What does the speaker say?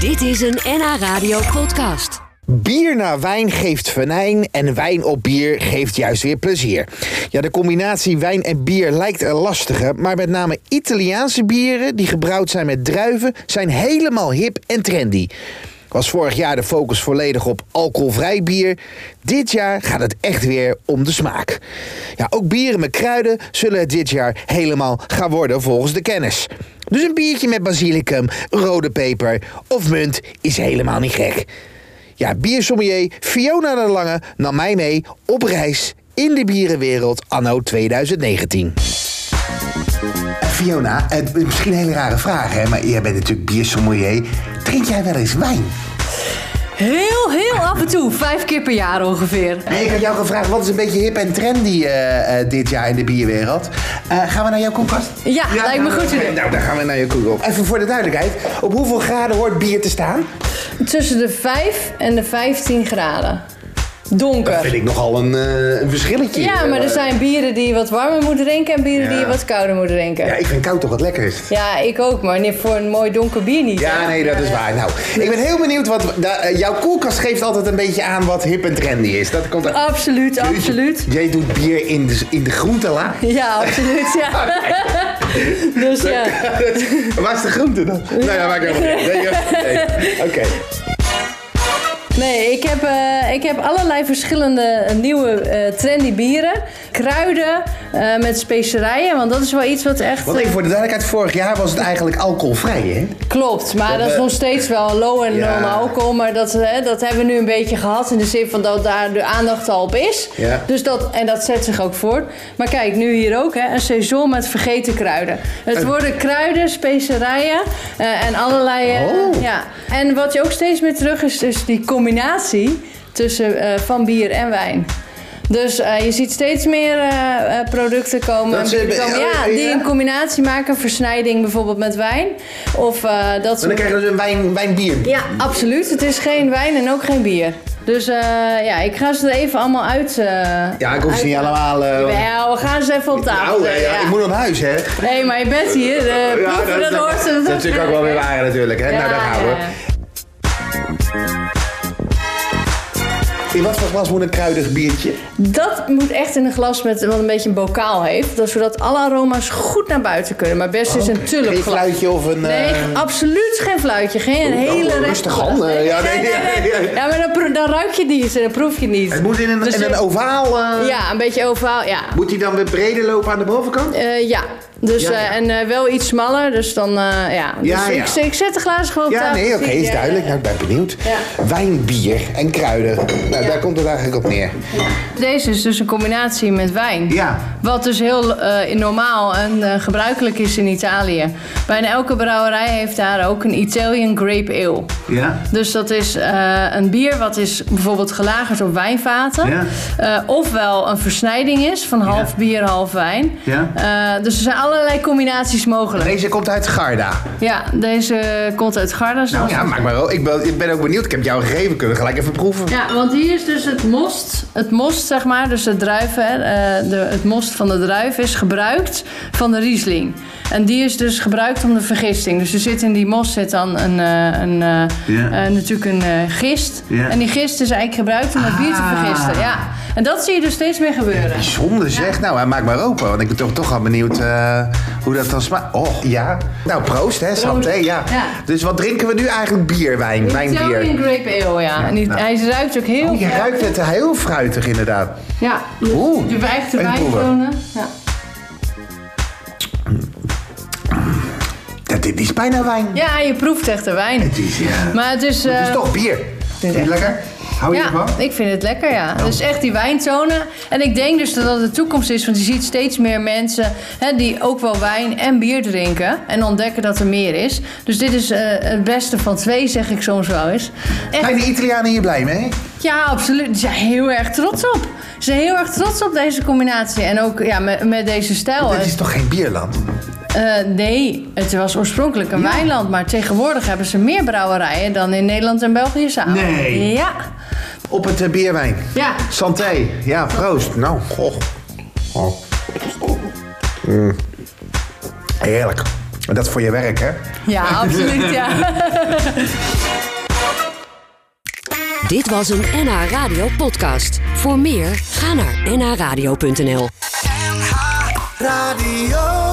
Dit is een NH Radio podcast. Bier naar wijn geeft venijn en wijn op bier geeft juist weer plezier. Ja, de combinatie wijn en bier lijkt een lastige, maar met name Italiaanse bieren die gebrouwd zijn met druiven zijn helemaal hip en trendy. Was vorig jaar de focus volledig op alcoholvrij bier. Dit jaar gaat het echt weer om de smaak. Ja, ook bieren met kruiden zullen het dit jaar helemaal gaan worden volgens de kennis. Dus een biertje met basilicum, rode peper of munt is helemaal niet gek. Ja, biersommelier Fiona de Lange nam mij mee op reis in de bierenwereld anno 2019. Fiona, het, misschien een hele rare vraag, hè, maar jij bent natuurlijk biersommelier. Drink jij wel eens wijn? Heel, heel af en toe. Vijf keer per jaar ongeveer. Nee, ik had jou gevraagd wat is een beetje hip en trendy eh, eh, dit jaar in de bierwereld. Eh, gaan we naar jouw koelkast? Ja, lijkt me goed idee. Nou, dan gaan we naar je koelkast. Even voor de duidelijkheid, op hoeveel graden hoort bier te staan? Tussen de 5 en de 15 graden. Vind Donker. ik nogal een, eh, een verschilletje. Ja, maar er zijn bieren die je wat warmer moet drinken en bieren die je Ja. wat kouder moet Ja, drinken. ik vind koud toch wat lekkerst. Ja, ik ook, maar niet voor een mooi donker bier niet. Ja, hè? nee, dat is waar. Nou, ik ben heel benieuwd wat. da- eh, jouw koelkast geeft altijd een beetje aan wat hip en trendy is. Dat komt uit. Absoluut, absoluut. Jij doet bier in de, in de groentela. Ja, absoluut, ja. Dus ja. Waar is de groente dan? Nou ja, maakt helemaal niet uit. Nee, joh. Nee. Oké. Nee, ik heb, eh, ik heb allerlei verschillende eh, nieuwe eh, trendy bieren. Kruiden eh, met specerijen, want dat is wel iets wat echt... Want eh, even voor de duidelijkheid, vorig jaar was het eigenlijk alcoholvrij, hè? Klopt, maar dat is we- nog steeds wel low en Ja. normaal alcohol. Maar dat, hè, dat hebben we nu een beetje gehad in de zin van dat daar de aandacht al op is. Ja. Dus dat, en dat zet zich ook voort. Maar kijk, nu hier ook, hè, een seizoen met vergeten kruiden. Het worden kruiden, specerijen eh, en allerlei... eh, Oh. ja. En wat je ook steeds meer terug is, is die combinatie tussen eh, van bier en wijn. Dus eh, je ziet steeds meer eh, eh, producten komen. Dat ze- en bieren komen. oh, ja, ja. die een combinatie maken, versnijding bijvoorbeeld met wijn. Of eh, dat Maar dan soort... krijgen we dus een wijn, wijnbier. Ja, absoluut. Het is geen wijn en ook geen bier. Dus eh, ja, ik ga ze er even allemaal uit... eh Ja, ik hoef ze niet uit- allemaal. eh, Wel, we gaan ze even op tafel. nou, ja, zetten, ja, ik moet naar huis, hè? ja. Nee, maar je bent hier. eh, proeven, dat, hoort dat is natuurlijk ook wel weer waar, natuurlijk, hè? nou, daar gaan we. Ja, ja. In wat voor glas moet een kruidig biertje? Dat moet echt in een glas met wat een beetje een bokaal heeft. Dat, zodat alle aroma's goed naar buiten kunnen. Maar best is een Oh, Geen tulpglas. fluitje of een. Nee, eh, absoluut geen fluitje. Geen nou, hele rustig aan, eh, ja, nee, ja, ja. Ja, maar dan, pro- dan ruik je het niet en dan proef je het niet. Het moet in een, Dus in je- een ovaal. eh, Ja, een beetje ovaal, ja. Moet hij dan weer breder lopen aan de bovenkant? Eh, ja, dus Ja, ja. eh, en eh, wel iets smaller, dus dan, eh, ja. Dus Ja, ja. Ik, ik zet de glazen gewoon op Ja, tafel, nee, oké, zie is je. duidelijk. Nou, ik ben benieuwd. Ja. Wijn, bier en kruiden. Nou, daar komt het eigenlijk op neer. Deze is dus een combinatie met wijn. Ja. Wat dus heel eh, normaal en eh, gebruikelijk is in Italië. Bijna elke brouwerij heeft daar ook een Italian Grape Ale. Ja. Dus dat is eh, een bier wat is bijvoorbeeld gelagerd op wijnvaten. Ja. Eh, ofwel een versnijding is van half Ja. bier, half wijn. Ja. Eh, dus er zijn allerlei combinaties mogelijk. Deze komt uit Garda. Ja, deze komt uit Garda. Nou zoals ja, het- maak maar wel. Ik ben, ik ben ook benieuwd. Ik heb jou gegeven. Kunnen we gelijk even proeven? Ja, want hier is dus het most, het most zeg maar, dus de druiven, hè, eh, de, het most van de druif is gebruikt van de Riesling. En die is dus gebruikt om de vergisting. Dus er zit in die most zit dan een, eh, een, eh, Ja. eh, natuurlijk een eh, gist. Ja. En die gist is eigenlijk gebruikt om het bier te Ah. vergisten. Ja. En dat zie je dus steeds meer gebeuren. Zonde zeg. Nou, hij maakt maar open. Want ik ben toch, toch al benieuwd eh, hoe dat dan smaakt. Oh, ja. Nou, proost hè, Santé. Ja. Ja. Dus wat drinken we nu eigenlijk? Bier, wijn, Italian wijnbier. Grape Ale, ja. en die, nou. hij ruikt ook heel... Oh, je ruikt het heel fruitig inderdaad. Ja, dus Oeh, de echte even proeven. wijntonen. Ja. Dat, dit is bijna wijn. ja, je proeft echt de wijn. Het is, ja. Maar het is... Het is eh, toch bier. Vind je het lekker? Hou je Ja, ervan? ik vind het lekker, ja. Dus echt die wijntonen. En ik denk dus dat dat de toekomst is, want je ziet steeds meer mensen hè, die ook wel wijn en bier drinken en ontdekken dat er meer is. Dus dit is eh, het beste van twee, zeg ik soms wel eens. Echt, Zijn de Italianen hier blij mee? ja, absoluut. Ze zijn heel erg trots op. Ze zijn heel erg trots op deze combinatie en ook ja, met, met deze stijl. Dit is toch geen bierland? Eh, nee, het was oorspronkelijk een wijnland, maar tegenwoordig hebben ze meer brouwerijen dan in Nederland en België samen. Nee. Ja. Op het eh, bierwijn. Ja. Santé. Ja, proost. Nou, goh. Oh. Mm. Heerlijk. En dat is voor je werk, hè? Ja, absoluut. Ja. Dit was een NH Radio podcast. Voor meer, ga naar nhradio.nl. NH Radio.